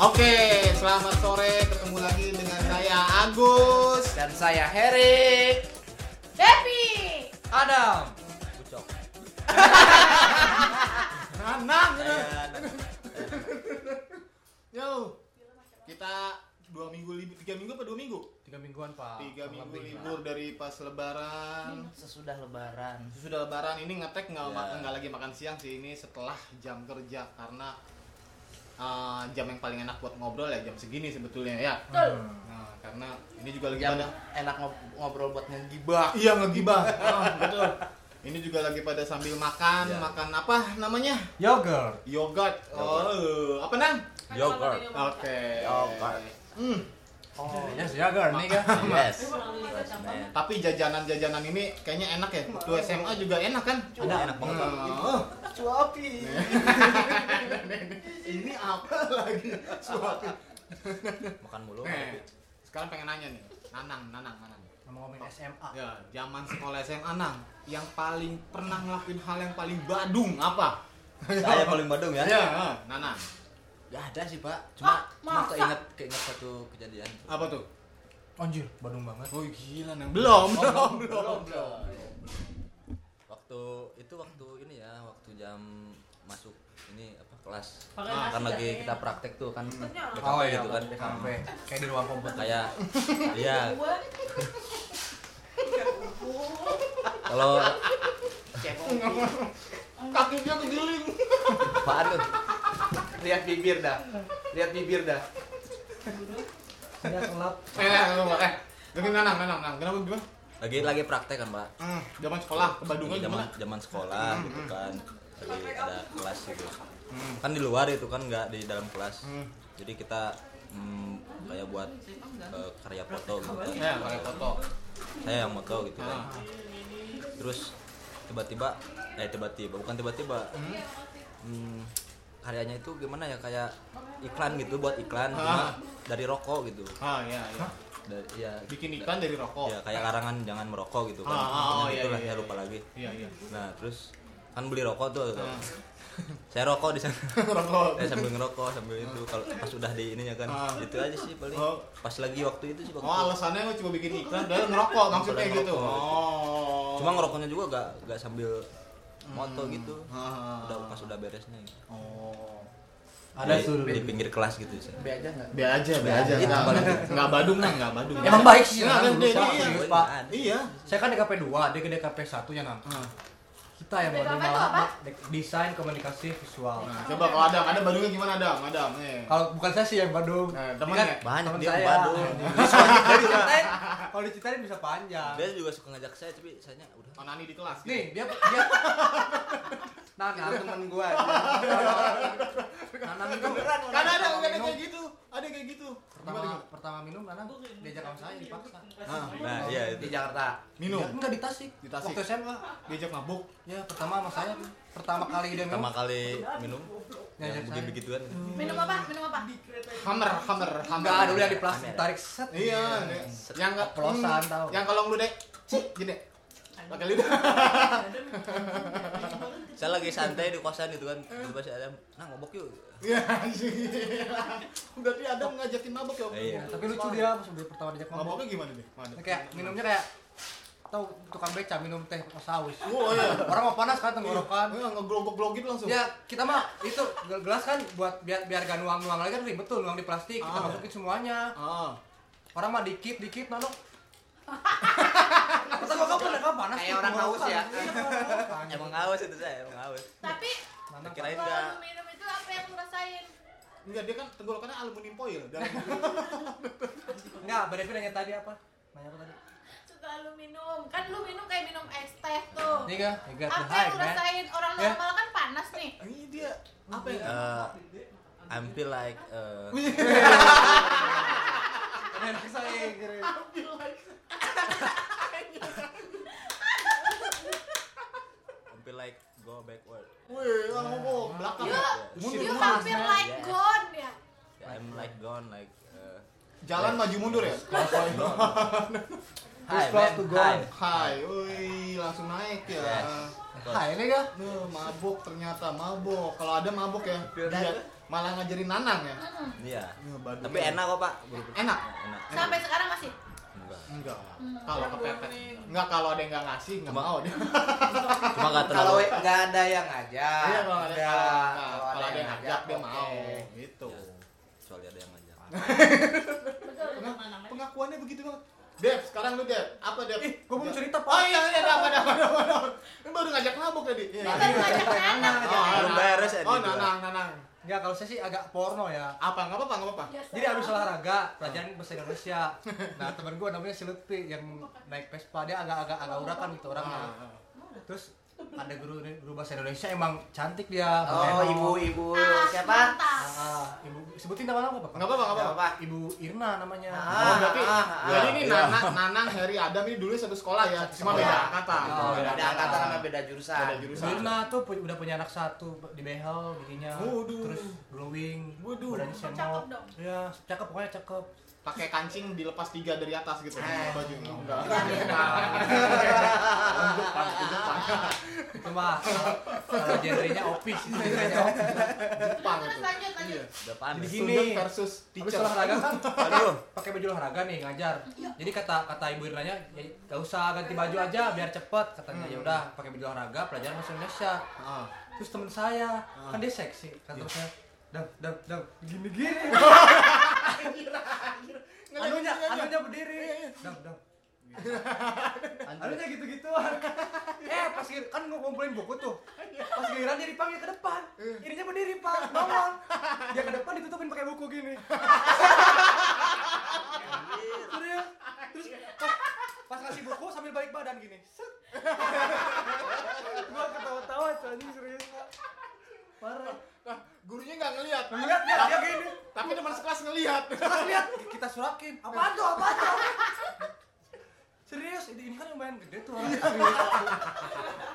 Oke, selamat sore. Ketemu lagi dengan saya Agus. Dan saya Harry Devi. Adam. Ucok. Iya. Nanang. Saya- Yo, kita dua minggu libur, tiga minggu apa dua minggu? tiga mingguan pak Ah, Tiga Kurang minggu lebih. libur dari pas Lebaran. Hmm, Sesudah Lebaran. Sudah Lebaran ini ngetek nggak Ya. ma- nggak lagi makan siang sih ini setelah jam kerja karena eh, jam yang paling enak buat ngobrol ya jam segini sebetulnya ya. Betul. Nah, karena ini juga lagi Jam pada enak ngob- ngobrol buat ngegibah. iya ngegibah. Ah, betul. Ini juga lagi pada sambil makan, Ya. makan apa namanya? yogurt Yogurt. Oh, apa nang? Kan Yogurt. kalau dari rumah Oke. Yogurt. Hmm, ya. Oh, yes yogurt nih kan kita. Ini yes. kalau kita campur. tapi jajanan-jajanan ini kayaknya enak ya. Waktu SMA juga enak kan? Ada enak banget. Bang. Oh, Cuapi. ini apa lagi? Suapin. Makan mulu. Nih, sekarang pengen nanya nih. Nanang, Nanang, Nanang. ngomongin SMA Ya, zaman sekolah SMA Nang, yang paling pernah ngelakuin hal yang paling badung apa? Saya paling badung ya. Ya, eh, Nanang. Gak ada sih, Pak. Cuma Ah, cuma masa? keinget keinget satu kejadian. Apa tuh? anjir badung banget Oh gila Nang. Belum, Oh, belum, belum. Waktu itu waktu ini ya, waktu jam masuk ini apa kelas. Pakai Ah, nasi Kan lagi jahe. kita praktek tuh kan. Ternyata. Oh, DKP iya, gitu kan. DKP kayak di ruang komputer Kayak iya, Gua. kalau Kakinya kegiling. apaan tuh? Lihat bibir dah. Lihat bibir dah. ya kelap Eh, eh, eh, eh. Dengan Nanang, Nanang, Nanang. Kenapa gimana? Lagi lagi praktek kan, Pak. Hmm, zaman sekolah ke Badungan Lagi Iya, zaman gimana? zaman sekolah gitu kan. Lagi ada kelas gitu. Kan di luar itu kan nggak di dalam kelas. Hmm. Jadi kita mm, kayak buat eh, karya foto gitu kan. Ya, pakai foto. saya yang moto gitu Ah. kan terus tiba-tiba eh tiba-tiba bukan tiba-tiba hmm, karyanya itu gimana ya kayak iklan gitu buat iklan Ah. cuma dari rokok gitu Ah, iya, iya. Da- ya Bikin da- ikan dari rokok. ya kayak larangan jangan merokok gitu kan Ah, ah, oh, iya, Intinya gitulah, iya, saya iya. lupa lagi Iya, iya. nah terus kan beli rokok tuh Ah. saya rokok di sana Rokok. Eh, saya sambil ngerokok sambil itu kalau pas udah di ininya kan Ah. itu aja sih paling Oh. pas lagi waktu itu sih waktu Oh, alasannya lo cuma bikin iklan, udah ngerokok maksudnya Udah gitu. ngerokok. Oh. cuma ngerokoknya juga gak gak sambil moto Hmm. gitu Ah. udah pas udah beresnya gitu. Oh. ada Di- suruh Iya, di pinggir kelas gitu sih Be aja enggak? Biar aja, biar aja. Gitu, Nggak- paling. Nggak badung lah, nggak badung. Emang baik sih, Nggak, kan, kan, dulu, dia- Pak. dia- Serius, Pak. Pak. Iya. saya kan DKP 2, dia ke DKP 1 ya Nang Ah. kita yang mau DKP itu malah apa? dek- desain komunikasi visual Nah, coba kalau Adam, ada badungnya gimana Adam? Adam, eh. kalau bukan saya sih yang badung Nah. Eh, Dia temennya? kan banyak temen dia saya. Iya. badung Kalau diceritain- kalau diceritain bisa panjang dia juga suka ngajak saya tapi saya udah Onani di kelas. gitu. nih dia dia Nanang temen gua Nah, Nanang itu Kan ada, ada kayak gitu. Ada kayak gitu. pertama pertama minum Nanang diajak sama saya dipaksa Ah, nah iya Di itu Jakarta. minum. Ya, enggak di Tasik. Di Tasik. Waktu SMA. Diajak mabuk. Ya, pertama sama saya pertama kali dia pertama minum. kali minum Ngajak yang begini saya. begituan Minum apa? Minum apa? Hammer, hammer, hammer. Enggak, dulu yang di plastik tarik set. Iya, Dek. yang nggak Oplosan, hmm, tau. Yang kalau lu dek, cik, gini. Pakai lidah. saya lagi santai di kosan gitu kan Hmm. tiba-tiba si Adam nah ngobok yuk Iya, anjing. Berarti Adam ngajakin mabuk ya? Om? Iya. Ya, tapi lucu dia pas dia pertama diajak ngomong. Mabuknya gimana deh? Mana? Dia kayak minumnya kayak tahu tukang beca minum teh sama saus. Oh iya. Orang mau panas kan tenggorokan. Iya, ngegrogok-grogin langsung. Ya, kita mah itu gel- gelas kan buat biar biar gak nuang-nuang lagi kan ribet tuh nuang di plastik, kita Ah. masukin semuanya. Ah. Orang mah dikit-dikit Nano. Pertama kali udah kan panas. Kayak orang haus ya. emang haus itu saya emang haus Tapi kirain kalau lu enggak minum itu apa yang lu rasain? Enggak, dia kan tenggorokannya aluminium foil. Dan Enggak, berarti nanya tadi apa? Nanya apa tadi? Setelah lu minum, kan lu minum kayak minum es teh tuh. Niga, Niga Oh. Apa yang lu rasain? Orang Ya. normal kan panas nih. ini dia apa ya? Eh, I'm feel like eh, I'm feel like go backward Wih, orang mabuk ah, belakang. You, Mundur, you mundur. hampir like Yes. God ya. I'm like gone like eh, Jalan maju mundur ya? Hi, close to man. God. Hi. Hai, wih, langsung naik ya. Yes. Hai Niga. Nuh, mabuk ternyata mabuk. Kalau ada mabuk ya. Dia, malah ngajarin nanang ya Mm. Iya. Iya, badui. Tapi enak kok pak. Buru-buru. enak Enak. Sampai sekarang masih. Enggak. enggak Hmm. kalau kepepet enggak kalau ada yang nggak ngasih nggak Cuma- mau dia Cuma gak Kalau terlalu. nggak ada yang ngajak, Iya, kalau ada nggak. kalau- kalau ada yang ngajak dia mau oke. gitu Ya, Kecuali ada yang ngajak. Betul. Pengak- pengakuannya begitu banget Dev, sekarang lu Dev, apa Dev? Ih, gua belum cerita, Pak. Oh iya, iya, ada apa, ada apa, ada apa, ada apa. Lu Kan baru ngajak mabuk tadi Iya. Dia baru ngajak anak. Oh, Belum nanang. beres, Edi, Oh, gua. nanang, nanang Enggak, kalau saya sih agak porno ya. Apa, nggak apa-apa, nggak apa-apa Jadi habis olahraga, pelajaran bahasa Indonesia. Nah, temen gue namanya si Lutfi yang naik Vespa, dia agak-agak agak urakan gitu orangnya. Ah, Terus ada guru guru bahasa Indonesia emang cantik dia. Oh, Moreno. ibu-ibu Ah, siapa? Ah, mantap. ah, ibu sebutin nama apa, Pak? Nggak apa-apa, nggak apa-apa Siapa? Ibu Irna namanya. Ah. Oh, berarti, ah, ah. jadi ini Iya. Nanang, Nanang, Heri, Adam ini dulu satu sekolah ya Cuma Iya. beda angkatan Oh, Beda beda angkatan sama beda jurusan. Beda Bu jurusan Irna tuh pu- udah punya anak satu di behel giginya. Waduh. Terus glowing. Waduh. Badannya Cakep semok. dong. Iya, cakep pokoknya cakep. Pakai kancing dilepas tiga dari atas gitu Eh. Baju, enggak Iya. Itu mah kalau- kalau genrenya opis itu genrenya opis. Jepang Terus, itu lanjut, lanjut. Iya. Udah panas. Jadi gini. Student versus Habis teacher olahraga kan Aduh. pakai baju olahraga nih ngajar. Jadi kata kata ibu Irnanya ya, gak usah ganti baju aja biar cepet katanya. Ya udah pakai baju olahraga pelajaran bahasa Indonesia. Ah. Terus temen saya kan dia seksi kata temen saya. Dam, dam, dam, gini gini. anunya, anunya berdiri. Dam, dam. Anunya gitu-gituan. eh pas gil- kan ngumpulin buku tuh. Pas giliran dia dipanggil ke depan. Irinya berdiri, Pak. Bangun. Dia ke depan ditutupin pakai buku gini. Serius. Terus pas, pas ngasih buku sambil balik badan gini. Set. Gua ketawa-tawa tuh anjing serius, Pak. Parah. Nah, gurunya nggak ngelihat. Ngeliat dia, dia gini. Tapi teman sekelas ngelihat. Terus lihat kita surakin. Apaan tuh? Apaan tuh? Serius, ini, ini kan lumayan gede tuh orang serius.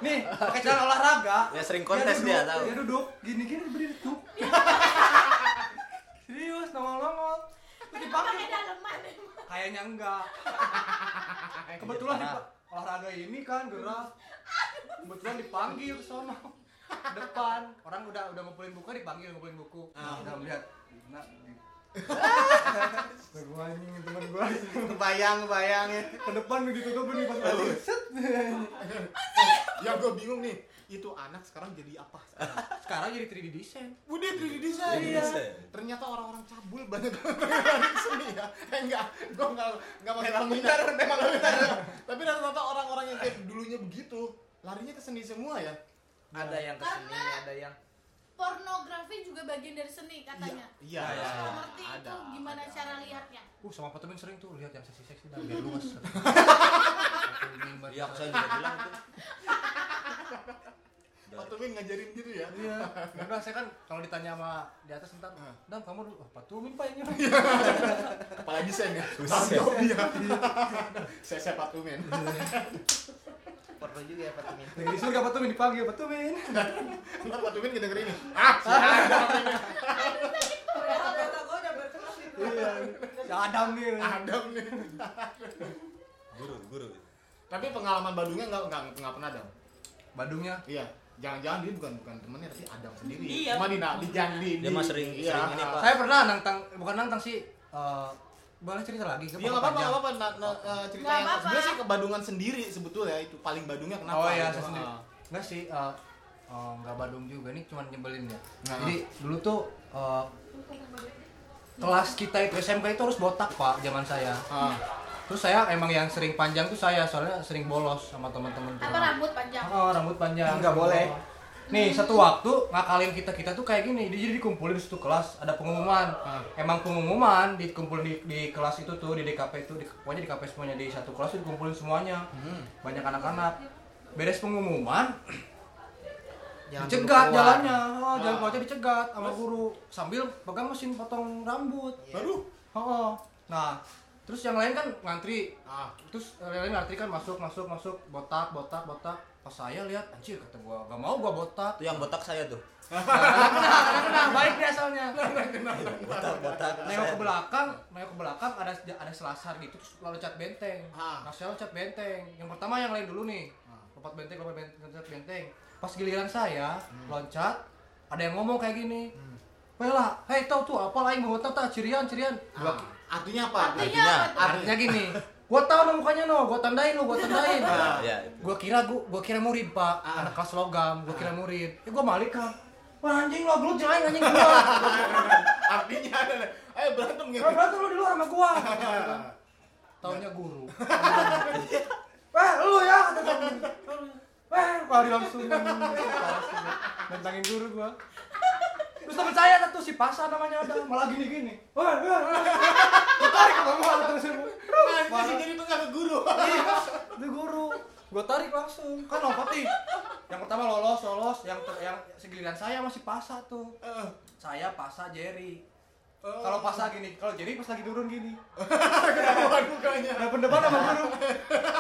Nih, pakai cara olahraga. Ya, sering kontes dia, duduk, tahu. Dia duduk gini-gini berdiri tuh. Serius, nongol-nongol. Terus Kenapa dipanggil. pakai daleman emang? Kayaknya enggak. Kebetulan dipa- olahraga ini kan gerak. Kebetulan dipanggil ke sono. Ke Depan orang udah udah ngumpulin buku dipanggil ngumpulin buku. Nah, udah melihat. Nah, di- Nah, gua anjing teman gua Bayang, bayang. ke depan gue ditutupin nih pas balik. ya. Set. Yang gue Ya, bingung nih, itu anak sekarang jadi apa? Sekarang jadi 3D design. Udah 3D design. Iya. Ternyata orang-orang cabul banyak seni ya. Eh enggak, gue enggak enggak mau Memang menghina. benar, memang benar. Tapi rata-rata orang-orang yang kayak dulunya begitu, larinya ke seni semua ya. Ada yang kesini, Karena- ada yang Pornografi juga bagian dari seni katanya. Iya, Terus iya. nggak iya. ngerti itu Ada, gimana ada. cara lihatnya. Uh, sama Pak Toming sering tuh lihat yang seksi-seksi dan biar luas. Iya, saya juga bilang itu. Pak Tuming ngajarin gitu ya. Iya. Hmm. Enggak, saya kan kalau ditanya sama di atas ntar, Heeh. "Dam, kamu dulu apa tuh mimpi ini?" Kepala desain ya. Susah Tanggung jawab dia. Saya saya Pak Tuming. perlu juga ya Pak Tumin. Lagi di surga apa tuh dipanggil apa tuh min? Ntar Pak Tuming kedengerin nih. Ah, Iya. Si Adam nih. Adam nih. Guru, guru. Tapi pengalaman Badungnya nggak nggak nggak pernah Adam. Badungnya. Iya, jangan-jangan dia bukan bukan temennya tapi Adam sendiri. Iya. Cuma di di di. Dia mah sering- iya. sering ini, Pak. Saya pernah nantang bukan nantang sih eh, boleh cerita lagi Iya nggak apa-apa, nggak apa-apa. Nah, nah, eh, cerita Nggak yang apa-apa. sebenarnya sih kebadungan sendiri sebetulnya itu paling Badungnya kenapa? Oh iya, gitu. saya sendiri. Ah. Enggak sih, eh, eh, nggak Badung juga nih, cuman nyebelin ya. Nah. Jadi dulu tuh eh, kelas kita itu SMK itu harus botak pak, zaman saya. Ah. Terus saya emang yang sering panjang tuh saya, soalnya sering bolos sama teman-teman. Apa rambut panjang? Oh, rambut panjang. Oh. Nggak boleh. Nih, satu waktu ngakalin kita kita tuh kayak gini. Dia jadi dikumpulin di situ kelas, ada pengumuman. Ah. Emang pengumuman dikumpulin di, di kelas itu tuh di DKP itu, di, pokoknya di DKP semuanya di satu kelas tuh dikumpulin semuanya. Hmm. Banyak anak-anak. Beres pengumuman, dicegat dulu keluar. jalannya. Oh, jalan Ah. keluarnya dicegat sama guru sambil pegang mesin potong rambut. Iya. Iya. Aduh. Oh, nah terus yang lain kan ngantri Ah. terus lain ngantri kan masuk masuk masuk botak botak botak pas saya lihat anjir kata gua gak mau gua botak Itu yang botak saya tuh. Nah, kenal kenal kenal baik dia soalnya Botak, botak. nengok ke belakang nengok ke belakang ada ada selasar gitu terus loncat benteng Ah. nah saya loncat benteng yang pertama yang lain dulu nih lompat benteng lompat benteng loncat benteng pas giliran saya loncat ada yang ngomong kayak gini Wela, hei tahu tuh apa lain mau tahu tak cirian cirian. Gua- Ah, artinya apa? Artinya apa tuh? Artinya gini, gua tahu nama mukanya no, gua tandain lo, gua tandain. Iya, itu. Gua kira gua, gua kira murid pak, Ah. anak kelas logam, gua kira murid. Eh gua balik kan, wah anjing lo gelut jangan anjing gua. artinya ayo berantem gitu. Gak berantem lo di luar sama gua. Taunya guru. Wah lu ya kata guru. Wah lari langsung. Nantangin guru gua. Terus temen saya ada tuh si Pasa namanya ada malah gini gini. Wah, wah, wah. tarik sama gua terus Nah, masih jadi tukang guru. Itu Iya, guru. Gua tarik langsung. Kan lompat nih. Yang pertama lolos, lolos. Yang ter- yang segiliran saya masih Pasa tuh. Eh, Saya Pasa Jerry. Oh. Kalau Pasa gini, kalau Jerry pas lagi turun gini. Ketahuan mukanya. Ada pendepan sama guru.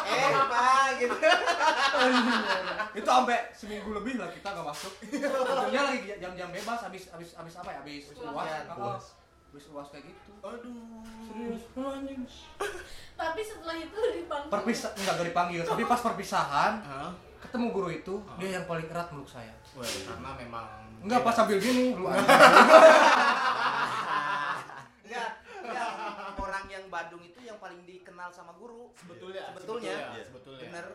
eh apa gitu itu sampai seminggu lebih lah kita gak masuk tentunya lagi jam-jam bebas habis habis habis apa ya habis uas Ujian. Heeh. habis uas kayak gitu Aduh. serius oh, anjing Tapi setelah itu lu dipanggil. perpisah enggak gak dipanggil tapi pas perpisahan Hah? ketemu guru itu Ah. dia yang paling erat meluk saya Wah, karena memang enggak pas sambil gini lu anjing. Enggak, enggak. orang yang Badung itu yang paling dikenal sama guru sebetulnya Iya, Iya, sebetulnya sebetulnya, sebetulnya. bener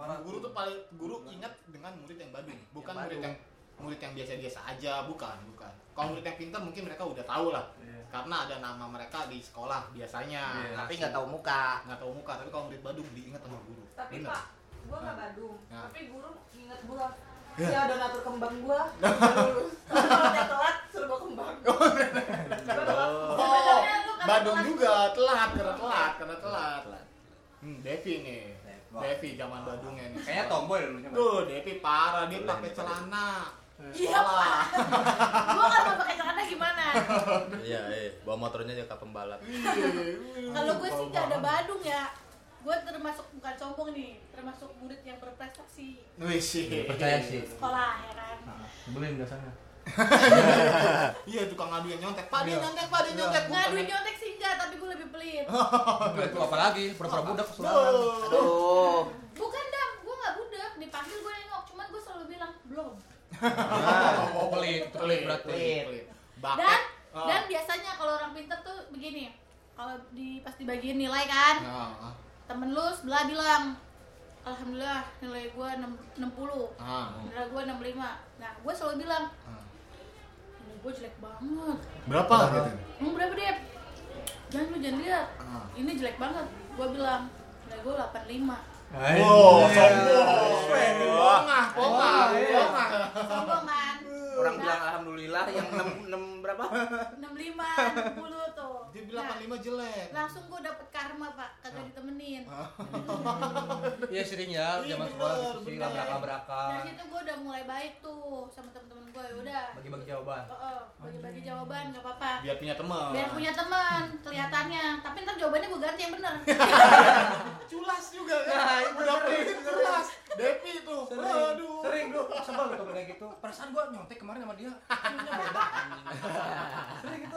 Para guru tuh paling guru ingat dengan murid yang badung, bukan Yang murid badung. yang murid yang biasa-biasa aja, bukan, bukan. Kalau murid yang pintar mungkin mereka udah tahu lah, karena ada nama mereka di sekolah biasanya. Iya. tapi nggak tahu muka nggak tahu muka, tapi kalau murid badung diingat sama guru. Tapi Bener. Pak, gua nggak Badung, Nah. Iya. tapi guru nginget gua. Ya udah ngatur kembang gua. lulus. Kalau udah telat serba kembang. Gua telat. Oh, Sebenarnya lu karena badung telat. juga telat, karena telat, karena telat. Pelan. Hmm, Devi nih, Wah. Devi zaman badungnya nih. kayaknya tomboy dulunya Mbak. Tuh, Devi parah, dia Boleh pakai nih, Pak. celana. Iya, Pak. Gua kan mau pakai celana gimana? Iya, eh, bawa motornya aja ke pembalap. Iya, Kalau gue sih gak ada Badung ya. Gue termasuk bukan sombong nih, termasuk murid yang berprestasi Wih sih. sekolah ya kan. beliin biasanya Iya tukang ngadu yang nyontek. Pak dia Iya. nyontek, Pak dia Iya. nyontek. Ngaduin nyontek sih enggak, tapi gue lebih pelit. Oh. itu apa lagi pura-pura budak kesurangan Aduh. aduh Bukan dam, gue gak budak, dipanggil gue nengok, cuman gue selalu bilang belum. oh pelit itu pelit berarti Pelit, pelit. Bakat. Dan Ah. dan biasanya kalau orang pinter tuh begini, kalau di pas dibagiin nilai kan, Ah, temen lu sebelah bilang, alhamdulillah nilai gue 60, ah, ah, nilai gue 65. Nah gue selalu bilang, ah. nilai gue jelek banget. Berapa gitu? Emang berapa deh? Jangan lu jangan lihat, Ah. ini jelek banget. Gue bilang, nilai gue 85. Wow, Anjing. sombong. Pongah, pongah, Wah, iya. pongah. Sombong kan? orang bilang alhamdulillah yang 6 6 berapa 65, 60 tuh. Dia bilang Nah, 85 jelek. langsung gue dapet karma pak kagak ditemenin Iya sering ya, Iya, zaman bener, sekolah gitu sih bener. dari labrak-labrakan, situ gue udah mulai baik tuh sama temen-temen gue udah bagi-bagi jawaban. oh, oh, bagi-bagi jawaban gak apa-apa Biar punya teman. biar punya teman kelihatannya tapi ntar jawabannya gue ganti yang bener culas juga Nah, kan. Udah pelit culas. Depi tuh. Aduh. sering lu sebel lu kayak gitu. Perasaan gua nyontek kemarin sama dia. Punya beda. sering gitu.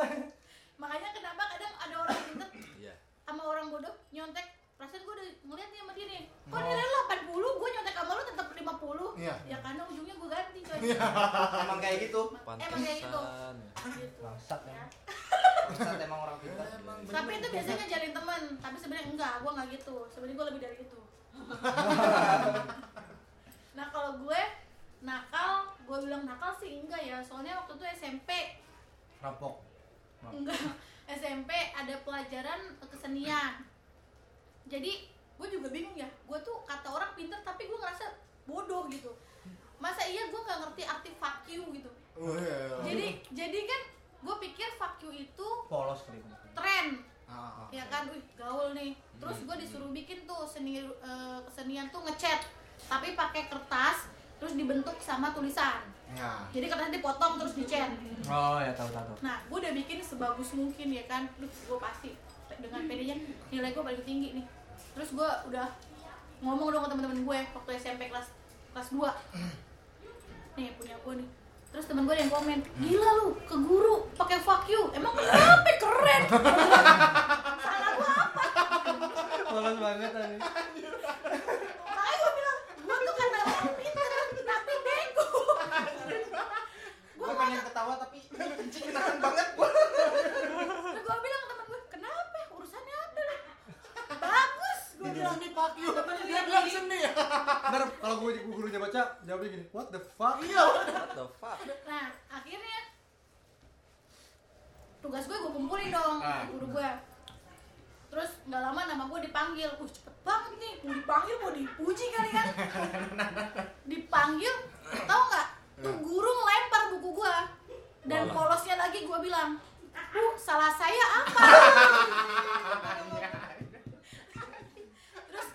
makanya kenapa kadang ada orang pinter Iya. sama orang bodoh nyontek perasaan gue udah ngeliat nih sama dia nih kok nilai lu 80 gue nyontek sama lu tetap 50 Iya. ya karena ujungnya gue ganti coy Eh, emang kayak gitu emang kayak gitu Pantesan. Gitu. Bangsat Ya. emang. Ustaz emang orang pintar tapi itu biasanya jalin teman tapi sebenarnya enggak gue nggak gitu sebenarnya gue lebih dari itu nah kalau gue nakal gue bilang nakal sih enggak ya soalnya waktu itu SMP Rampok. enggak SMP ada pelajaran kesenian jadi gue juga bingung ya gue tuh kata orang pinter tapi gue ngerasa bodoh gitu masa iya gue nggak ngerti arti fuck you gitu Well. jadi jadi kan gue pikir fuck you itu Polos kali gua. tren Ah, ah. ya kan, wih gaul nih. Terus gue disuruh bikin tuh seni eh, kesenian tuh ngecat, tapi pakai kertas, terus dibentuk sama tulisan. Ya. Jadi kertas dipotong terus dicat. Oh ya tahu tahu. tahu. Nah, gue udah bikin sebagus mungkin ya kan, terus gue pasti pe- dengan pedenya nilai gue paling tinggi nih. Terus gue udah ngomong dong ke teman-teman gue waktu SMP kelas kelas 2 nih punya gue nih. Terus temen gue ada yang komen, gila lu ke guru pakai fuck you, emang kenapa keren? Salah gue Polos banget tadi. Makanya gue bilang, gue tuh karena orang pinter, tapi bego. gue pengen ketawa tapi ini kencing gue gurunya baca jawabnya gini what the fuck Iya. What the fuck? Nah, akhirnya tugas gue gue kumpulin dong Ah. guru gue. Terus nggak lama nama gue dipanggil. Uh, cepet banget nih. Mau dipanggil mau dipuji kali kan? dipanggil, tau nggak? Tuh guru ngelempar buku gue. Dan Walah. polosnya lagi gue bilang, Bu, salah saya apa? Terus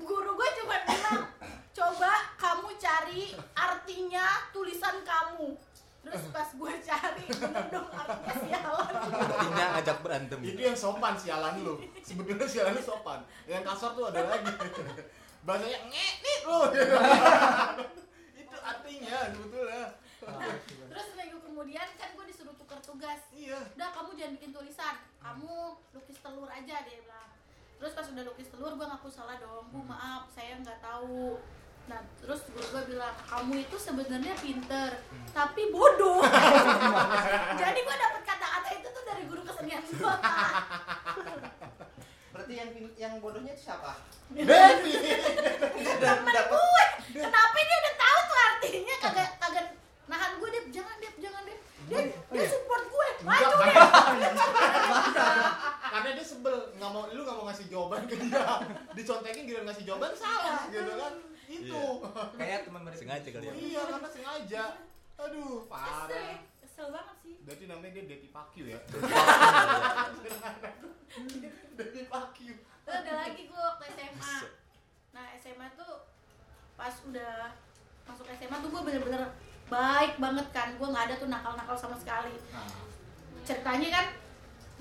guru gue cuma bilang, coba kamu cari artinya tulisan kamu. Terus pas gue cari, bener dong artinya sialan. Artinya ngajak berantem. gitu. Itu yang sopan sialan lu. Sebenarnya sialan lu sopan. Yang kasar tuh ada lagi. Bahasanya ngekit lu. itu artinya sebetulnya. Terus minggu kemudian kan gue disuruh tukar tugas. Iya. Udah kamu jangan bikin tulisan, kamu lukis telur aja dia bilang. Terus pas udah lukis telur gue ngaku salah dong, bu maaf saya nggak tahu. Nah terus guru gue bilang kamu itu sebenarnya pinter tapi bodoh. Jadi gue dapet kata-kata itu tuh dari guru kesenian gue. Berarti yang pin- yang bodohnya itu siapa? Devi. temen gue kenapa dia udah tahu tuh artinya kagak kagak nahan gue deh jangan deh jangan deh dia dia support gue maju Enggak, deh Karena dia sebel, nggak mau lu nggak mau ngasih jawaban ke dia. Dicontekin giliran ngasih jawaban salah gitu kan. Itu. kayak teman mereka Sengaja kali ya. Iya, karena sengaja. Aduh, kesel parah. kesel banget sih Berarti namanya dia Devi Pakyu ya. Devi Pakyu. terus ada lagi gue waktu SMA nah SMA tuh pas udah masuk SMA tuh gue bener-bener baik banget kan gue nggak ada tuh nakal-nakal sama sekali Nah. ceritanya kan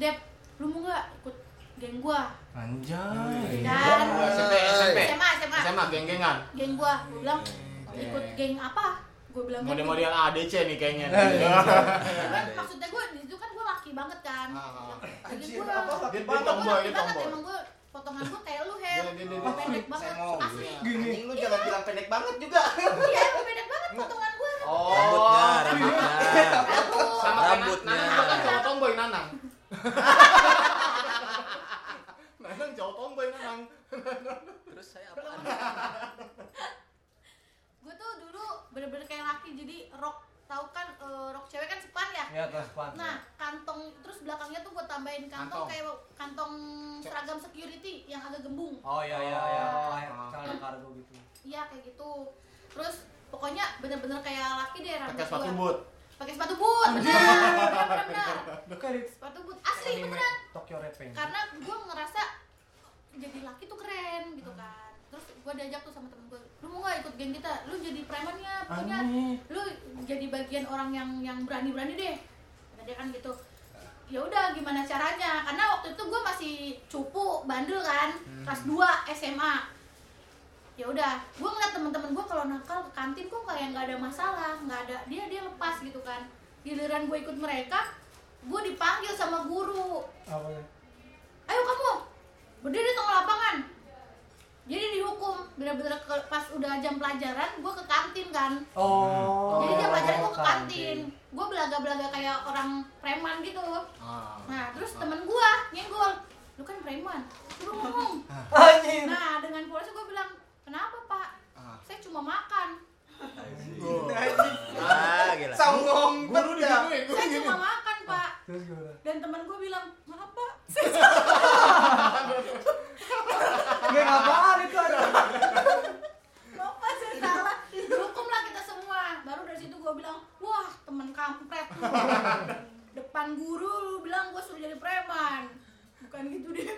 Dep lu mau nggak ikut geng gue anjay dan Nah. SMP, SMP. SMA SMA SMA geng-gengan. geng gue gue bilang Hmm, ikut iya, geng apa gue bilang geng- Model-model ADC nih kayaknya. Iya. Cuman maksudnya gue di situ kan gue laki banget kan. Ah, ah. Jadi Anjir, gue apa? gue Dia dia laki tomboy, dia banget tomboy. emang gue potongan gue kayak lu hem, Dia- dia- dia- Gua pendek banget Sengong. asli. Gini. Anjing lu jangan bilang pendek banget juga. Iya emang pendek banget potongan gue. Rambutnya, Oh. rambutnya. sama Rambutnya. rambutnya. Nanang kan cowok tomboy Nanang. Nanang cowok tomboy Nanang. Terus saya apaan? Gue tuh dulu bener-bener kayak laki jadi rok tahu kan eh, rok cewek kan sepan ya. ya terus pan Nah kantong terus belakangnya tuh gue tambahin Kantong. kantong, kayak kantong seragam security yang agak gembung. oh iya iya iya Oh. kayak celana kargo gitu Iya kayak gitu. Terus pokoknya bener-bener kayak laki deh rambut Pakai sepatu gua. boot. Pakai sepatu boot. Bener, bener, bener. Bukan Sepatu boot asli anime beneran. Tokyo Repeng karena gue ngerasa jadi laki tuh keren gitu kan terus gue diajak tuh sama temen gue lu mau gak ikut geng kita lu jadi premannya pokoknya lu jadi bagian orang yang yang berani berani deh Kata dia kan gitu ya udah gimana caranya karena waktu itu gue masih cupu bandel kan kelas 2 SMA ya udah gue ngeliat temen-temen gue kalau nakal ke kantin kok kayak nggak ada masalah nggak ada dia dia lepas gitu kan giliran gue ikut mereka gue dipanggil sama guru apa ya? ayo kamu berdiri di tengah lapangan jadi dihukum bener-bener ke- pas udah jam pelajaran gue ke kantin kan Oh. jadi jam pelajaran gue ke kantin. kantin gue belaga-belaga kayak orang preman gitu Ah. nah terus Oh. temen gue nyenggol lu kan preman lu ngomong Anjing. nah dengan polosnya gue bilang kenapa pak Ah. saya cuma makan Nah. Ah, gila. Songong Guru terus di ya. gue, guru saya gini. cuma makan pak Terus gimana? dan teman gue bilang maaf pak Gak ngapain itu ada. Lupa saya salah. Hukumlah kita semua. Baru dari situ gue bilang, wah temen kampret. lu." Depan guru lu bilang gue suruh jadi preman. Bukan gitu deh.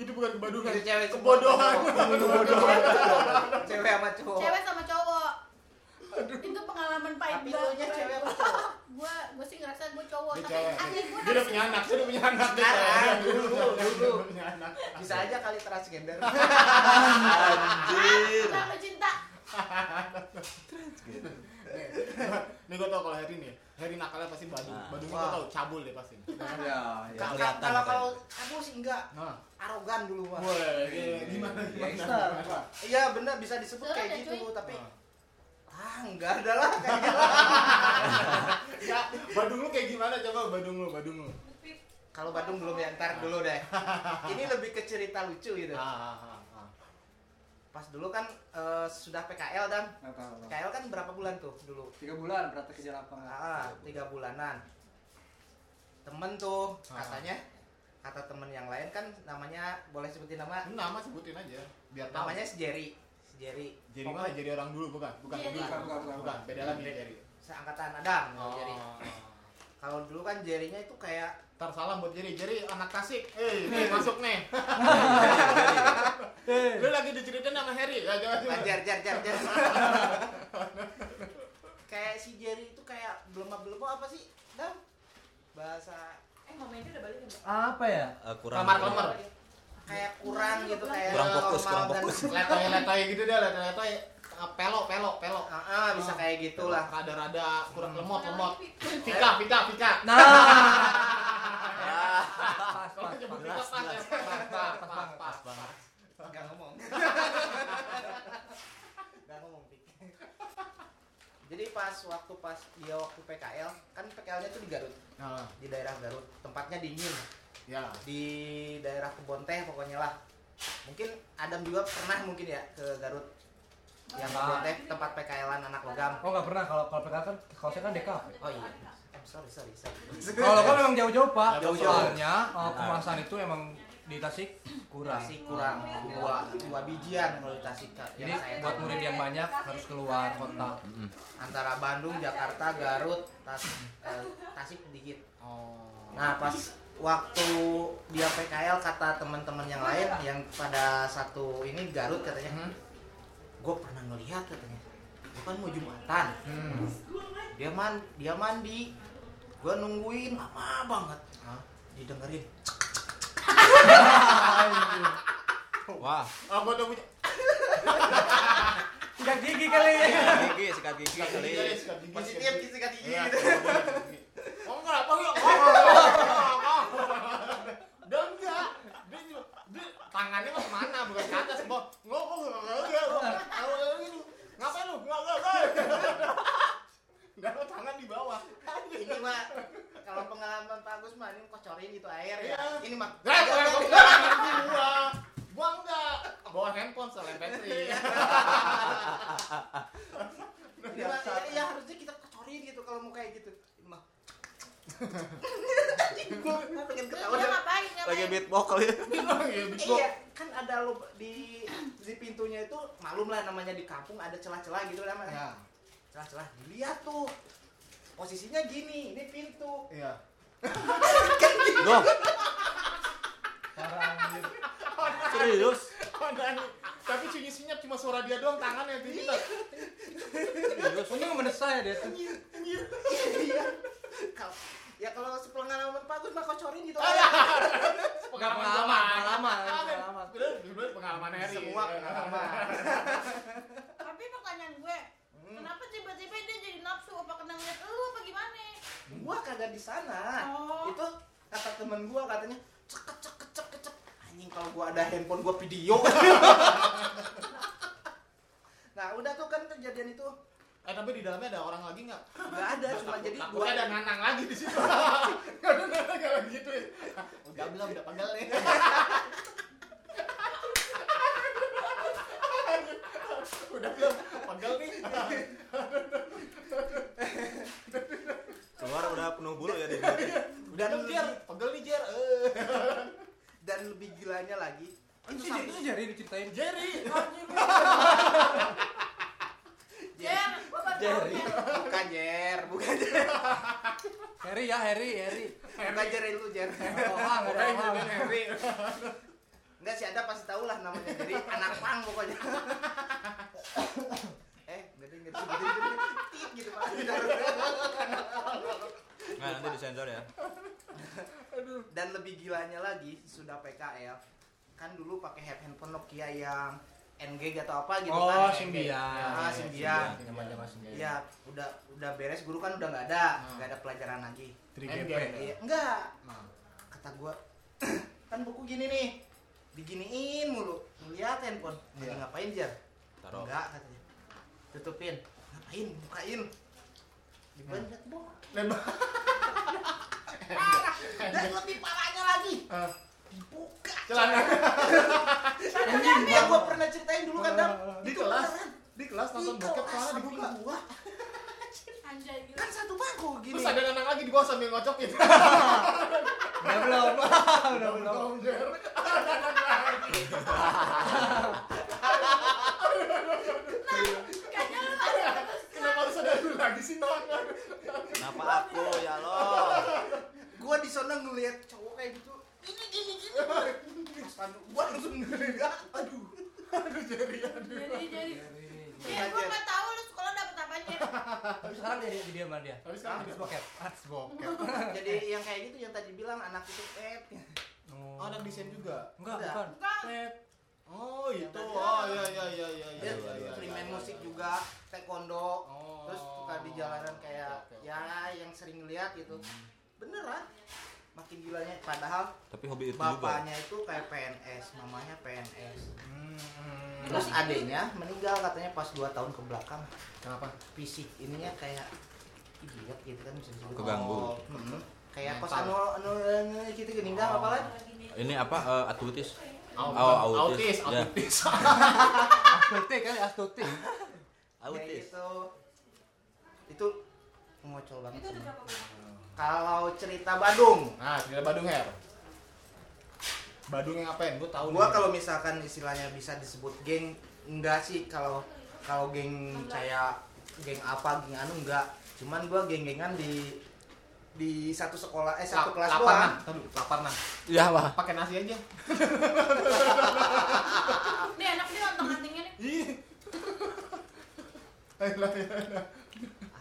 Itu bukan kebadukan, Itu cewek semua. kebodohan. Cewek sama cowok. Cewek sama cowok. Itu pengalaman pahit Tapi lu banget. nya cewek apa cowok? Gue gue sih ngerasa gue cowok, Dia tapi cewek. hati gue Dia udah punya anak, dia udah punya anak. dia Sekarang, cewek. dulu, dulu. Dia punya anak. Bisa aja kali transgender. Anjir. terlalu cinta. Nih gue tau kalau Heri nih, Heri nakalnya pasti badu. Ah. Badu gue tau, cabul deh pasti. Ya, ya. Ka- ka- Kelihatan Kalau mukanya. kalau aku sih enggak Nah, arogan dulu wah. boleh. iya, Eh, Gimana? Gimana? Gangster. Iya bener bisa disebut Suara ada, kayak gitu cuy. tapi Ah. ah enggak ada lah kayaknya lah. Ya, Badung lu kayak gimana coba Badung lu, Badung lu. Kalau Bandung belum ya ntar dulu deh. Ini lebih ke cerita lucu gitu. Ah, ah, ah, ah. Pas pas dulu kan eh, sudah PKL dan Nggak tahu, nggak tahu. PKL kan berapa bulan tuh dulu Tiga bulan berarti kerja lapangan. Ah, tiga bulanan. Temen tuh Ah. katanya, kata temen yang lain kan namanya boleh sebutin nama, Ini ah. nama sebutin aja Iya. biar tahu. namanya si Jerry, si Jerry. jadi Pokoknya mah jadi orang dulu bukan, bukan Jerry. bukan, Bukan, bukan, bukan. bukan, beda lagi Jerry. seangkatan Adam Oh. kalau Jerry. Kalau dulu kan Jerry-nya itu kayak Ntar salam buat Jerry. Jerry anak kasik. Eh, nih masuk nih. Lu lagi diceritain sama Harry. Ya, jangan jangan. jar jar jar jar. kayak si Jerry itu kayak belum-belum apa sih? Dam? Bahasa Eh, momennya udah balik ya, Mbak? Apa ya? Eh, kurang Kamar kamar. kayak kurang gitu kayak Kurang fokus, normal kurang dan- fokus. Letoy letoy gitu deh, letoy letoy. Pelo pelo pelo. Ah, ah, bisa kayak gitulah. Rada-rada kurang lemot lemot. Orang Pika pika pika. Nah, Ah. Pas, Nah, Kalau pas, nyebut pika pas. pas ya. Pas pas pas pas pas. Gak ngomong. Gak ngomong, Pik. Jadi pas waktu pas dia waktu PKL, kan PKL-nya tuh di Garut, Nah, di daerah Garut. Tempatnya dingin, ya. di daerah Kebon Teh pokoknya lah. Mungkin Adam juga pernah mungkin ya ke Garut. Ah. Yang Kebon Ya, Teh tempat PKL-an anak logam. Oh nggak pernah kalau kalau PKK kan kalau saya kan DKV. Oh iya. I'm sorry, sorry, sorry. Kalau kan memang jauh-jauh pak. Jauh-jauh. Soalnya uh, kemasan itu emang di Tasik kurang. Masih kurang dua, dua bijian kalau di Tasik. Jadi yang saya buat tahu. murid yang banyak harus keluar kota. Mm-mm. antara Bandung, Jakarta, Garut, Tasik, eh, Tasik dikit. Oh. Nah pas waktu dia PKL kata teman-teman yang lain yang pada satu ini Garut katanya, Hmm. gue pernah ngelihat katanya, gue kan mau jumatan, Hmm. dia man dia mandi, gue nungguin lama banget, didengerin, Wah, Ah, gua udah punya. Sikat gigi kali ya. sikat gigi, sikat gigi Sikat kali. gigi, sikat gigi, positif sikat gigi. gitu kan gigi Iya, gitu. sikat gigi. Oh, enggak apa yuk. Oh, enggak, enggak, enggak. Dia enggak. Dia cuma- dia tangannya mah kemana bukan ke atas Bo. ngomong enggak, enggak, enggak. Tahu kayak gitu. ngapain lu enggak enggak enggak Enggak, lu tangan di bawah Ini mah kalau pengalaman Pak Agus mah ini kocorin gitu air ya. Iya. Ini mah. Enggak, gua enggak, gua enggak, gua gua enggak bawa handphone soalnya Iya. baterai Ini mah- ini ya harusnya kita kocorin gitu kalau mau kayak gitu. Ini mah. Gue pengen ketawa Udah ngapain Lagi ngapain? beatbox kali. Iya, Eh, beatbox. Iya, kan ada lo di di pintunya itu malum lah namanya di kampung ada celah-celah gitu lah Mas. Iya, Ya, Celah-celah dilihat tuh. Posisinya gini, ini pintu. iya Duh, Parah anjir. serius. Oh, nani. tapi sunyi senyap cuma suara dia doang tangannya di kita Untung menesah ya dia tuh. Iya. Kalau- ya kalau sepengalaman bagus mah kocorin gitu. Ah, iya. Nggak, pengalaman, pengalaman, pengalaman pengalaman. Bener, bener, pengalaman Harry Iya. Semua pengalaman. Tapi pertanyaan gue, Hmm. kenapa tiba-tiba dia jadi nafsu? Apa kena ngeliat lu apa gimana? gua kagak di sana. Oh. Itu kata temen gua katanya cek cek cek cek anjing kalau gua ada handphone gua video. nah, udah tuh kan kejadian itu Eh tapi di dalamnya ada orang lagi nggak? nggak ada cuma jadi Takutnya gua ada nanang lagi di situ. Nggak ada nanang kalau gitu. ya. Udah belum, udah pegal nih. udah belum, pegal nih. Keluar udah penuh bulu ya dia. Udah belum Jer, pegal nih Jer. Eh. dan lebih gilanya lagi Itu sih itu itu sampai sih jari diceritain. Ah, Jerry. Jer, gue baru tahu, Jer. Jer. bukan jer bukan jer Harry ya Harry Harry. bukan jer eh, lu jer Orang ada orang. enggak sih ada pasti tau lah namanya jadi anak pang pokoknya eh gede gede gede gede tit gitu pak Nah, nanti disensor ya. dan lebih gilanya lagi sudah PKL kan dulu pakai head- handphone Nokia yang NG atau apa Iya, gitu kan Oh NG. Simbian. ah Symbian Zaman-zaman Simbian. Iya, udah udah beres guru kan udah nggak ada, Hmm. nggak ada pelajaran lagi. 3GP. Iya, enggak. Nah. Kata gua, kan buku gini nih, diginiin mulu, ngeliat handphone. Lagi Iya. ngapain jar? Taruh. Enggak katanya. Tutupin. Ngapain? Bukain. Dibanyak boh. Lembah. Parah. Dan lebih parahnya lagi, Eh, dibuka. celana Ini yang gua pernah ceritain dulu kan, Dam. di Ah. kelas beneran. di kelas nonton Di bokep kelas malah sambil dibuka gua. Anjay gila. Kan satu bangku gini. terus ada anak lagi di bawah sambil ngocokin Udah belum. Udah belum. Tonjol. Kayaknya lu ada kenapa harus ada lu lagi sih Noah Kenapa aku ya lo? Gua di sana ngeliat cowok kayak gitu. Gini gini gini. Aduh, gua langsung ngeliat. Aduh. aduh Jerry aduh Jadi jadi. Ya Aja. gua nggak tahu lu sekolah dapet apanya. Tapi sekarang jadi dia sama dia. Tapi sekarang Artis dia. bokep. Artis bokep. Nah. Jadi yang kayak gitu yang tadi bilang anak itu eh, pet. oh ada desain juga Enggak, Udah. bukan. Enggak. oh itu Ada. oh iya iya iya iya iya Dia iya, iya, main iya, musik iya. juga, taekwondo. Oh. Terus suka di jalanan kayak Oke, oke, oke. ya yang sering ngeliat gitu. Beneran. Makin gilanya padahal Tapi hobi itu juga. ya. bapaknya itu kayak PNS, mamanya PNS. Hmm. Terus adeknya meninggal katanya pas 2 tahun ke belakang kenapa fisik ininya kayak idiot gitu kan bisa disebut. Keganggu. Oh, mm-mm. Kayak kos anu Mental. anu anu gitu meninggal apa lah? Ini apa eh, artritis? Au- Oh, autis autis. Ya. autis Astuti kali astuti. Kayak Autis. gitu. Itu ngocol banget. Itu udah berapa banyak? Kalau cerita Badung, nah cerita Badung Her Badung yang ngapain gue tahu gua nih. kalau misalkan istilahnya bisa disebut geng enggak sih kalau kalau geng kayak geng apa geng anu enggak cuman gua geng-gengan di di satu sekolah eh satu La- kelas lapangan doang Tadu, lapangan Ya lah. Nah. pakai nasi aja Nih anak dia otak atingnya nih. ih iya.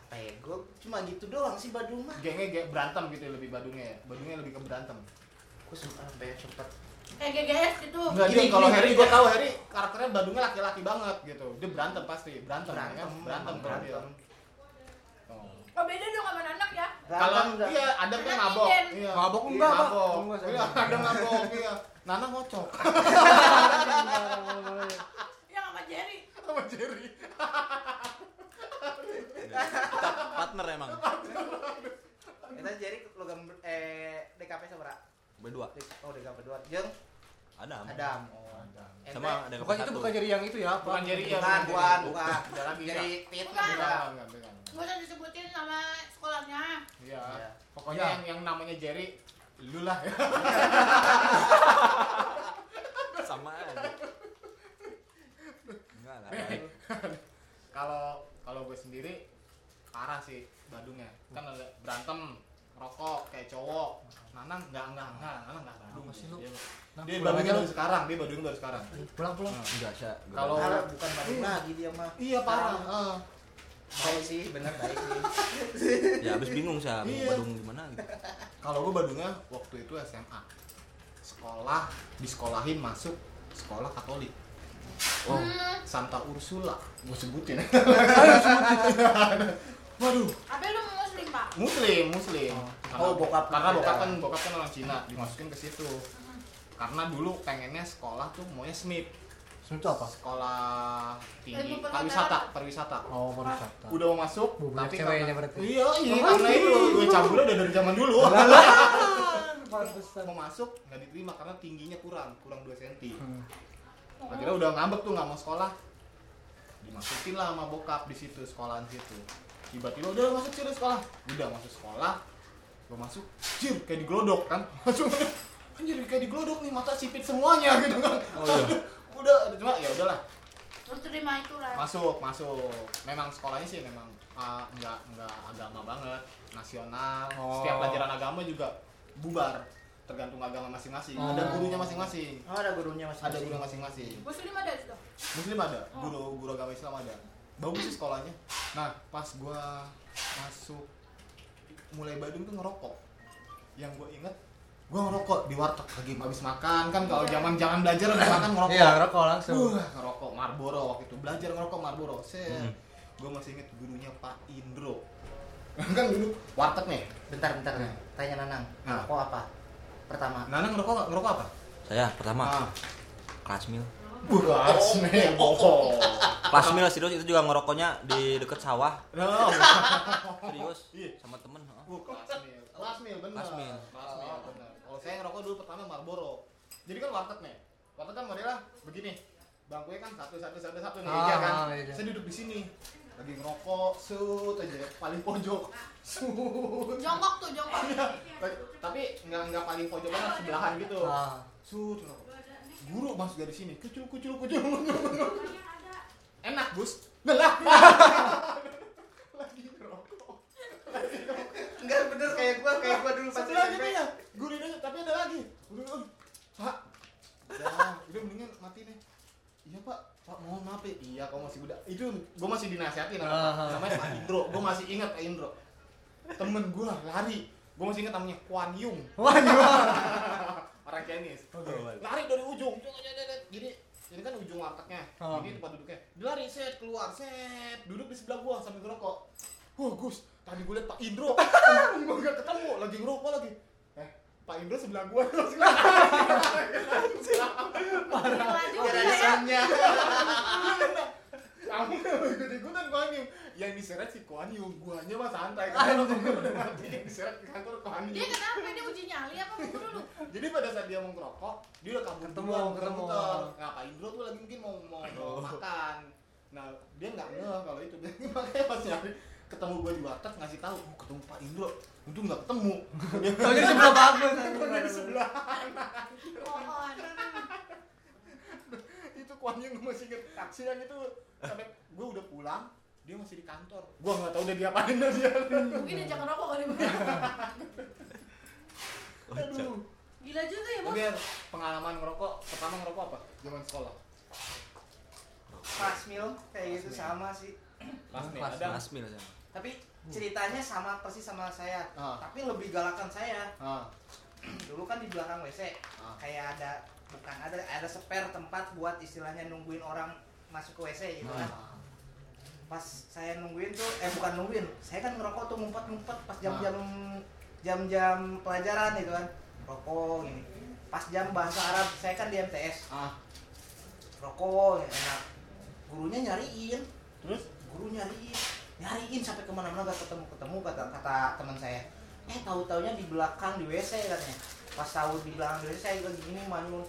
apa ya gua cuma gitu doang sih Badung mah gengnya geng berantem gitu ya, lebih badungnya ya badungnya lebih ke berantem gua sempat sampai sempet Kayak GGS gitu. Enggak Oh, Gini, dia kalau gini, Harry gini. gue tahu Harry karakternya badungnya laki-laki banget gitu dia berantem pasti berantem ya berantem kan berantem kalau dia berantem Oh. Oh beda dong sama anak ya. kalau Berantem dah. iya ada tuh Anak mabok inden. iya Mabok Iya, enggak, Pak. mabok Enggak, saya iya enggak. ada mabok iya Nana ngocok Yang Iya, sama Jerry. sama Jerry Kita partner emang. kita jadi logam ber- eh DKP sabra Berdua. oh DKP dua jeng Adam. Adam oh Ente- Sama ada Bukan itu bukan jadi yang itu ya, Nah, Bukan apa? Jerry ya bukan bukan bukan Ada lagi, jadi fit Bukan. bukan. Gak usah disebutin sama sekolahnya. iya Iya. pokoknya Iya. yang yang namanya Jerry lu lah ya. Sama aja. Enggak lah. kalau kalau gue sendiri parah sih Badungnya kan ada berantem rokok kayak cowok Nanang nggak nggak nggak Nanang nggak Badung Apa sih lu? dia, Nah, dia pulang Badungnya aja lu. baru sekarang dia Badung baru sekarang Hmm. Pulang pulang. Enggak, Sya. Kalau- Parah, bukan Badung lagi dia mah iya parah Heeh. baik sih bener baik sih ya habis bingung Sya, mau Iya. Badung gimana gitu. kalau gue Badungnya waktu itu SMA sekolah disekolahin masuk sekolah Katolik oh Hmm. Santa Ursula gue sebutin waduh Tapi lu muslim pak. Muslim, Muslim. Karena, Oh, bokap. Karena Beda. bokap kan bokap kan orang Cina, dimasukin ke situ. Karena dulu pengennya sekolah tuh maunya SMIP, Itu apa? sekolah tinggi Ilmu perhotelan. pariwisata, pariwisata. Oh, pariwisata. Udah mau masuk, Bu, banyak tapi ceweknya karena, berarti. iya, iya, karena itu gue cabulnya udah dari zaman dulu. Ah, Pantesan. mau masuk nggak diterima karena tingginya kurang, kurang 2 cm. Hmm. Akhirnya udah ngambek tuh nggak mau sekolah. Dimasukin lah sama bokap di situ sekolahan situ. Tiba-tiba udah masuk sini sekolah. Udah masuk sekolah. Gua masuk, jir kayak diglodok kan. Masuk kan jadi kayak diglodok nih mata sipit semuanya gitu kan. Oh iya. udah aduh, cuma ya udahlah. Lu terima itu lah. Masuk, masuk. Memang sekolahnya sih memang ah, nggak nggak agama banget, nasional. Oh. Setiap pelajaran agama juga bubar tergantung agama masing-masing. Oh. Ada gurunya masing-masing. oh ada gurunya masih Ada guru masing-masing. Muslim ada sudah. Muslim ada, guru guru agama Islam ada. Bagus sih sekolahnya. Nah, pas gua masuk mulai Badung tuh ngerokok. Yang gua inget, gua ngerokok di warteg lagi habis makan kan kalau zaman jangan belajar habis makan ngerokok. Iya, rokok langsung. Uh, ngerokok Marlboro waktu itu. Belajar ngerokok Marlboro. Set. Gua masih inget gurunya Pak Indro. kan dulu warteg nih. bentar bentar tanya Nanang Nah. kok apa pertama Nana ngerokok nggak? ngerokok apa? Saya pertama Ah. Oh. kelas mil. Beras nih, bohong. Kelas mil serius itu juga ngerokoknya di deket sawah. Nah, Oh. Serius Iya. sama temen. heeh. Kelas mil, Oh, kelas mil bener. Kelas mil. Kelas mil, bener. Kalau saya ngerokok dulu pertama Marlboro. jadi kan warteg nih warteg kan modelnya begini bangkunya kan satu satu satu satu nih Ah, meja kan meja. saya duduk di sini lagi ngerokok sut aja paling pojok sut jongkok tuh jongkok Iya. tapi nggak nggak paling pojok banget sebelahan gitu Ah. sut ngerokok. guru masuk dari sini kucul kucul kucul kucul, kucul. enak gus lelah lagi ngerokok Enggak bener kayak gua, kayak gua dulu pas Sebelah SMP. gitu ya, gurih tapi ada lagi. Gurih, eh, Pak, udah, udah mendingan mati nih. Iya pak, pak mohon maaf ya. Iya, kau masih muda. Itu gue masih dinasihatin sama Ah. namanya Pak Indro. Gue masih ingat Pak Indro. Temen gue lari, gue masih ingat namanya Kwan Yung. Wah, Orang Chinese. Oke. Lari dari ujung. Jadi ini kan ujung wartegnya. Ah. Ini tempat duduknya. Dia lari set keluar set duduk di sebelah gua sambil ngerokok. Wah, Gus, tadi gua liat Pak Indro. gua enggak ketemu, lagi ngerokok lagi. Eh, Pak Indro sebelah gua. Gila juga Gara-gara ya soundnya. Kamu ikut-ikutan Kuan Yung. Yang diseret Ya, si Kuan Yung, guanya mah santai. Kan Karena udah mati yang diseret ke kantor Kuan dia Yung. kenapa dia uji nyali apa buku dulu Jadi pada saat dia mau ngerokok, dia udah kabur Ketemu, duluan, ketemu. muter-muter. Nah, Pak Indro tuh lagi mungkin mau mau, mau Oh. makan. Nah, dia nggak ngeh kalau itu. Makanya pas nyari ketemu gua di warteg ngasih tahu, oh, ketemu Pak Indro. Untung nggak ketemu. Dia Soalnya di sebelah bagus. Dia di sebelah. bohongan itu Kwan Yung gua masih inget taksi yang itu sampai gue udah pulang dia masih di kantor gue nggak tahu udah diapain dah dia mungkin dia jangan rokok kali Bu. Kocak. aduh gila juga ya bos biar pengalaman ngerokok pertama ngerokok apa zaman sekolah Pas mil kayak gitu sama sih. pas nih Mas, ada Mas Mil sama. Tapi ceritanya sama persis sama saya. Ah. Tapi lebih galakan saya. ah Dulu kan di belakang WC Ah. kayak ada bukan ada ada spare tempat buat istilahnya nungguin orang masuk ke WC gitu kan. Ah. Pas saya nungguin tuh eh bukan nungguin. Saya kan ngerokok tuh ngumpet-ngumpet pas jam-jam jam-jam pelajaran gitu kan. Rokok gini. Pas jam bahasa Arab saya kan di MTS. ah rokok enak gurunya nyariin terus guru nyariin nyariin sampai kemana-mana gak ketemu ketemu kata kata teman saya eh tahu taunya di belakang di wc katanya pas tahu di belakang di wc saya lagi gini manyun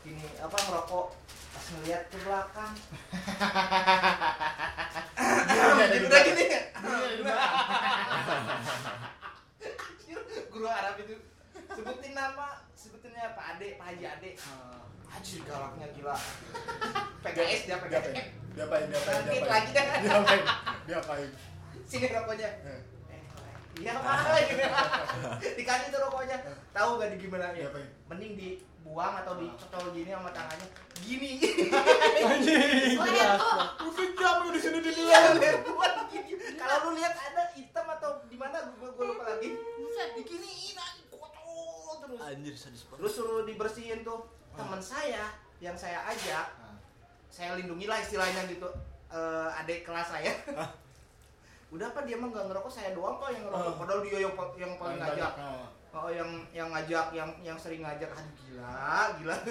gini apa ngerokok pas ngeliat ke belakang jadi udah gini guru Arab itu sebutin nama sebutinnya Pak Ade Pak Haji Ade Ah. Haji galaknya gila PKS dia PKS diapain diapain diapain diapain Bangkit lagi dah. diapain diapain sini rokoknya Eh, Eh, iya mahal gitu dikasih tuh rokoknya tahu gak di gimana ya Ah. diapain mending dibuang atau dicocol gini sama tangannya gini Anjing, jelas. udah jam lu di sini di Iya, buat gini. kalau lu lihat ada hitam atau di mana gue gue lupa lagi Buset. diginiin anjing, kocok terus Anjir sadis banget. terus suruh dibersihin tuh teman saya yang saya ajak Ah. saya lindungi lah istilahnya gitu eh, adik kelas saya udah apa dia mah nggak ngerokok saya doang kok yang ngerokok Ah. padahal dia yang, pa- yang paling ngajak Ah. oh yang yang ngajak yang yang sering ngajak aduh gila gila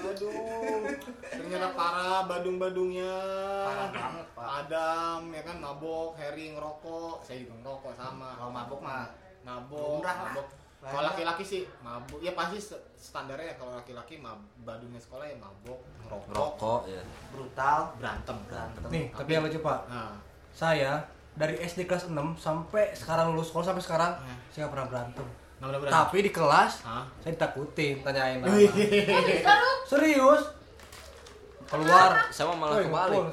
Aduh, ternyata parah badung-badungnya. Parah banget, Pak. Adam ya kan mabok, Harry ngerokok, saya juga ngerokok sama. kalau mabok mah mabok, lumrah lah. iya. mabok. Banyak. Kalau laki-laki sih mabuk, ya pasti se- standarnya ya kalau laki-laki mab badungnya sekolah ya mabok, ngerokok, Ngerokok ya. brutal berantem. berantem Nih, tapi yang lucu, Pak. Nah, Saya dari SD kelas 6 sampai sekarang lulus sekolah sampai sekarang Hmm. saya nggak pernah berantem. namanya berantem. Tapi di kelas Hah? saya ditakutin, tanyain nama. iya. Oh, bisa lu Serius? Keluar Sama Oh, Woi, malah iya, kebalik. ngepul.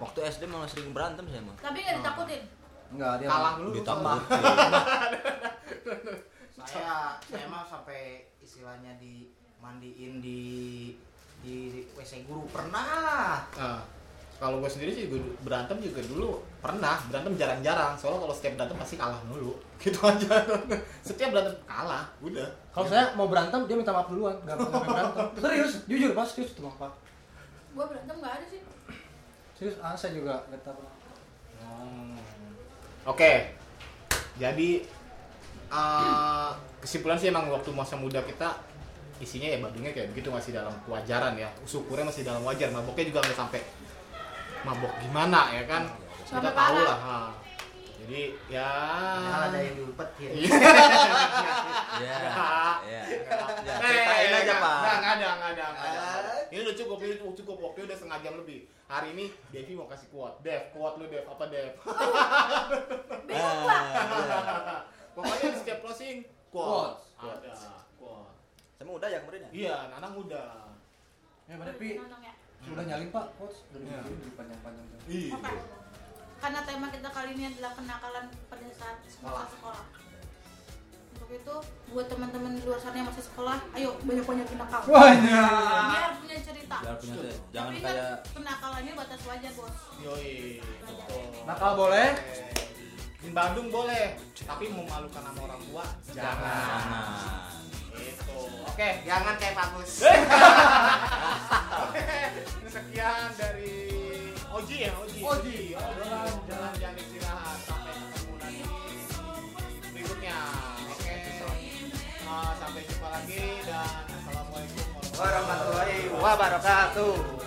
Waktu SD malah sering berantem saya Iya. mah. tapi gak ditakutin Enggak, dia Kalah dulu. Ditambah. saya saya mah sampai istilahnya dimandiin di di WC guru pernah Nah, kalau gue sendiri sih gua du- berantem juga dulu pernah berantem jarang-jarang soalnya kalau setiap berantem pasti kalah mulu gitu aja setiap berantem kalah udah Kalau saya mau berantem dia minta maaf duluan, enggak pernah sampai berantem. Serius, jujur Pak, serius itu Pak. gua berantem gak ada sih Serius, ah, saya juga enggak tahu. Hmm. Oke. Jadi eh, kesimpulan sih emang waktu masa muda kita isinya ya badungnya kayak begitu masih dalam kewajaran ya. Syukurnya masih dalam wajar, maboknya juga nggak sampai mabok gimana ya kan. Kita Sampai tahu parah. lah. ha. Jadi ya Padahal ada yang diupetin Iya. Ya. Ya. Eh, Nggak, apa nggak ada, nggak ada, nggak ada. Ah. Ini udah cukup, ini udah cukup waktu udah setengah jam lebih. Hari ini Devi mau kasih quote. Dev, quote lu Dev, apa Dev? Iya. Bingung gua. Eh. Pokoknya di setiap closing quote. Quotes. Ada quote. sama udah ya kemarin ya Iya, anak muda. Ya, tapi Nonong ya. udah nyaling Pak, coach. Udah nyaling panjang-panjang. Iya. Oke. Karena tema kita kali ini adalah kenakalan pada saat masa sekolah. Untuk itu, buat teman-teman di luar sana yang masih sekolah, ayo banyak-banyakin nakal. Banyak. Biar punya cerita. biar punya teh jangan Tapi kan kayak kenakalannya batas wajar, Bos. Yoi. betul. Nakal boleh? Di Bandung boleh, tapi memalukan sama orang tua jangan. Gitu. jangan Itu. Oke, Eh, jangan kayak bagus. Ini sekian dari Oji ya, Oji. Oji. Oji. Jalan-jalan istirahat sampai ketemu lagi berikutnya. Oke. eh, Ah, sampai jumpa lagi dan assalamualaikum warahmatullahi Warahmatullahi wabarakatuh.